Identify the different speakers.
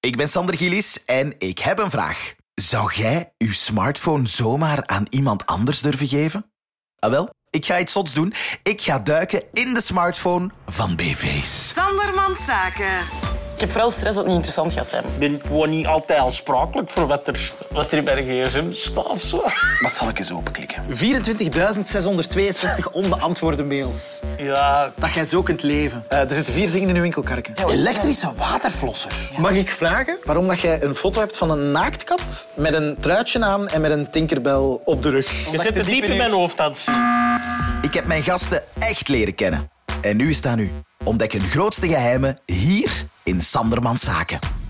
Speaker 1: Ik ben Sander Gillis en ik heb een vraag. Zou jij uw smartphone zomaar aan iemand anders durven geven? Ah wel, ik ga iets zots doen. Ik ga duiken in de smartphone van BV's.
Speaker 2: Sandermans Zaken.
Speaker 3: Ik heb vooral stress dat het niet interessant gaat zijn.
Speaker 4: Ik ben gewoon niet altijd aansprakelijk voor wat er, wat er in mijn gsm staat of zo.
Speaker 5: Wat zal ik eens openklikken?
Speaker 6: 24.662 onbeantwoorde mails.
Speaker 4: Ja,
Speaker 6: Dat jij zo kunt leven. Eh, er zitten vier dingen in uw winkelkarken.
Speaker 5: Elektrische waterflosser.
Speaker 6: Mag ik vragen waarom dat jij een foto hebt van een naaktkat met een truitje aan en met een tinkerbel op de rug?
Speaker 4: je zit te diep in mijn hoofd aan het zien.
Speaker 1: Ik heb mijn gasten echt leren kennen. En nu is het aan u. Ontdek hun grootste geheimen hier in Sandermans Zaken.